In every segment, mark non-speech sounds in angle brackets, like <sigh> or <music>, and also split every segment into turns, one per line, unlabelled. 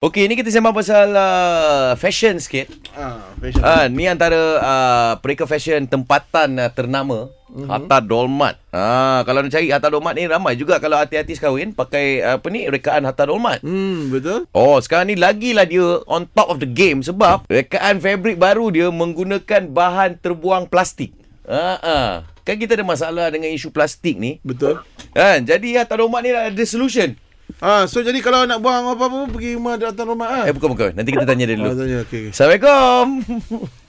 Okey, ni kita sembang pasal uh, fashion sikit.
Ah, fashion.
Ah, ni antara uh, pereka fashion tempatan uh, ternama mm-hmm. Hatta Dolmat. Ah, kalau nak cari Hatta Dolmat ni ramai juga kalau hati-hati sekawin pakai uh, apa ni rekaan Hatta Dolmat.
Hmm, betul.
Oh, sekarang ni lagilah dia on top of the game sebab rekaan fabric baru dia menggunakan bahan terbuang plastik. Ha ah. Kan kita ada masalah dengan isu plastik ni.
Betul.
Kan? Jadi Hatta Dolmat ni ada solution.
Ah, so jadi kalau nak buang apa-apa pergi rumah datang rumah ah.
Eh bukan bukan. Nanti kita tanya dia
Ah, <laughs>
dulu.
tanya okey. okey.
Assalamualaikum.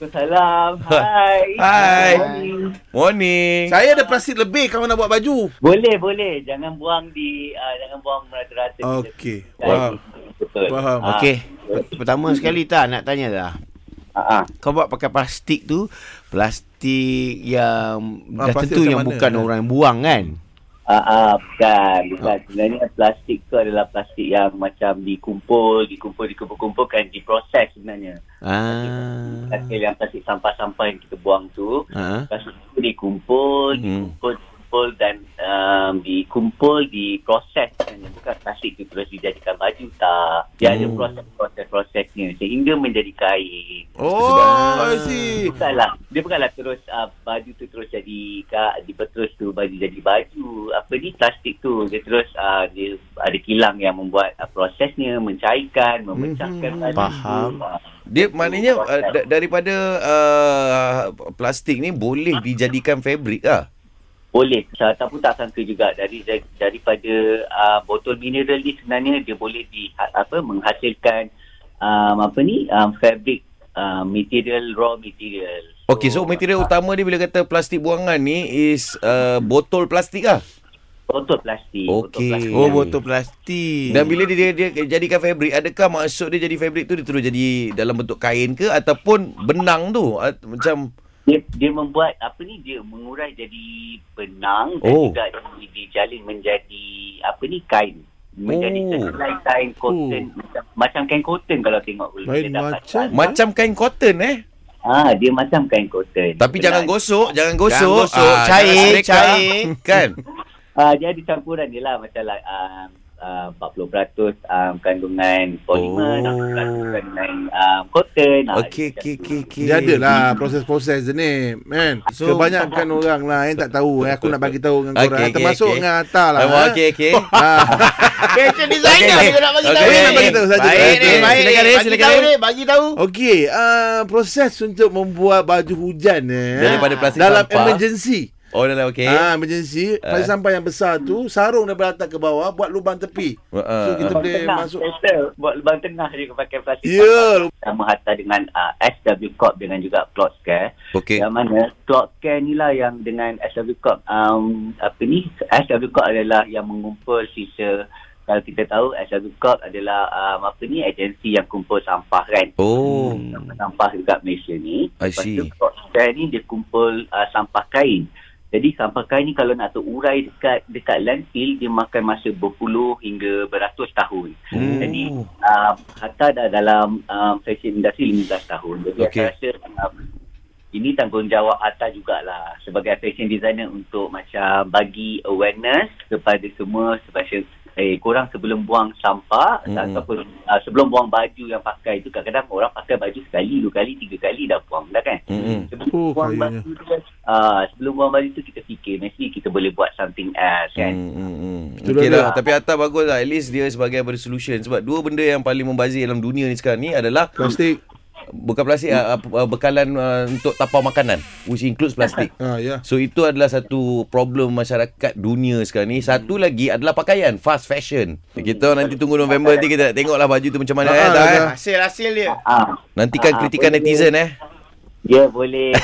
<laughs>
Salam. Hai.
Hai.
Morning.
Morning.
Saya ada plastik lebih kalau nak buat baju.
Boleh, boleh. Jangan buang di uh, jangan buang merata-rata.
Okey.
Saya-
Faham.
Betul.
Faham.
Ah,
Okey. Per- Pertama sekali tak nak tanya dah.
ah, ah.
Kau buat pakai plastik tu, plastik yang
Ah,
dah
plastik macam
tentu yang
mana?
bukan
Ya.
orang yang buang kan?
Ah, ah, bukan, bukan. Sebenarnya plastik tu adalah plastik yang macam dikumpul, dikumpul, dikumpul-kumpulkan, diproses sebenarnya.
Ah.
Plastik yang plastik sampah-sampah yang kita buang tu,
Ah.
plastik tu dikumpul,
Hmm.
dikumpul, dikumpul dan um, dikumpul, diproses sebenarnya. Bukan plastik tu terus dijadikan baju tak. Dia ada proses-proses-prosesnya sehingga menjadi kain.
Oh, I see.
Bukanlah dia bukanlah terus uh, baju tu terus jadi kak di terus tu baju jadi baju apa ni plastik tu dia terus uh, dia ada kilang yang membuat uh, prosesnya mencairkan memecahkan
Mhm.
baju
Faham.
tu. Ah,
Dia maknanya uh, da- daripada uh, plastik ni boleh dijadikan fabrik lah.
boleh saya tak pun tak sangka juga dari dari- daripada uh, botol mineral ni sebenarnya dia boleh di apa menghasilkan um, apa ni um, fabric uh, material raw material Ah,
Okay, so
Oh.
material utama dia bila kata plastik buangan ni is uh, botol plastik lah.
botol plastik botol
Okey.
plastik.
Oh, botol plastik.
Dan bila dia, dia, dia jadikan fabrik, adakah maksud dia jadi fabrik tu dia terus jadi dalam bentuk kain ke ataupun benang tu? At- macam
dia dia membuat apa ni dia mengurai jadi benang dan
Oh.
oh. juga di- dijalin menjadi apa ni kain menjadi
Oh.
sehelai kain cotton macam, macam kain cotton kalau tengok dulu
Main
dia dapat
macam.
kain.
macam kain cotton eh.
ah dia macam kain cotton
Tapi jangan gosok, jangan gosok.
Jangan gosok,
Ah,
cair,
jangan sedekah.
cair.
<laughs> Kan?
ah dia ada campuran dia lah macam like, um, uh, 40% um, kandungan polimer
Oh.
oh. 60% kandungan um, cotton Ah,
Okey, okey,
dia macam
okey.
tu.
Okay.
Dia ada lah proses-proses dia ni man.
So-
Kebanyakan orang lah yang tak tahu eh. Aku nak bagi tahu dengan korang
Okey, okey,
Termasuk
okey.
dengan Atta lah
Lah,
eh.
okey,
<laughs>
okey.
Ah,
Fashion designer
Okey,
okay, nak bagi
okey.
tahu.
Okey,
ni.
nak bagi
tahu saja.
Baik ni,
Okey,
baik
silakan,
ni.
Ray,
Bagi
silakan,
tahu
Ray.
ni, bagi tahu.
Okey, ah, proses untuk membuat baju hujan eh.
Daripada plastik
dalam
sampah.
emergency.
Oh, dah lah, okey.
Ah, emergency. Plastik sampah yang besar tu sarung daripada atas ke bawah buat lubang tepi.
Ah,
So kita
ah.
boleh
tengah,
masuk.
settle. Buat lubang tengah je pakai plastik
Ya.
Sama hatta dengan uh, SW Corp dengan juga Plot Care
Okey.
Yang mana Plot Care ni lah yang dengan SW Corp um, Apa ni SW Corp adalah yang mengumpul sisa Kalau kita tahu SW Corp adalah um, Apa ni agensi yang kumpul sampah kan
Oh.
sampah dekat Malaysia ni.
I
Lepas
see.
tu Crossfire ni dia kumpul uh, sampah kain. Jadi sampah kain ni kalau nak terurai dekat dekat landfill dia makan masa berpuluh hingga beratus tahun.
Hmm.
Jadi uh, Hatta dah dalam um, fashion industri 15 tahun. Jadi
Okey.
okay. saya rasa um, ini tanggungjawab Hatta jugalah sebagai fashion designer untuk macam bagi awareness kepada semua fashion eh korang sebelum buang sampah
Mm-mm.
mm-hmm. ataupun uh, sebelum buang baju yang pakai tu kadang-kadang orang pakai baju sekali, dua kali, tiga kali dah buang dah kan.
Mm-mm.
Sebelum
Oh,
buang
kayunya.
baju tu uh, sebelum buang baju tu kita fikir mesti kita boleh buat something else kan.
Hmm, hmm, hmm.
Betul
Okey
lah.
lah. Tapi Atta bagus lah. At least dia sebagai ada solution. Sebab dua benda yang paling membazir dalam dunia ni sekarang ni adalah
Plastik.
bukan plastik, ah, ah, bekalan ah, untuk tapau makanan. Which includes plastik.
Ah, ya.
So itu adalah satu problem masyarakat dunia sekarang ni. Satu lagi adalah pakaian. Fast fashion. Kita nanti tunggu November nanti kita nak tengoklah baju tu macam mana.
Ah,
eh, dah,
dah.
eh.
Hasil-hasil dia.
Ah,
Nantikan eh.
Ah,
kritikan
boleh.
netizen eh.
ya boleh.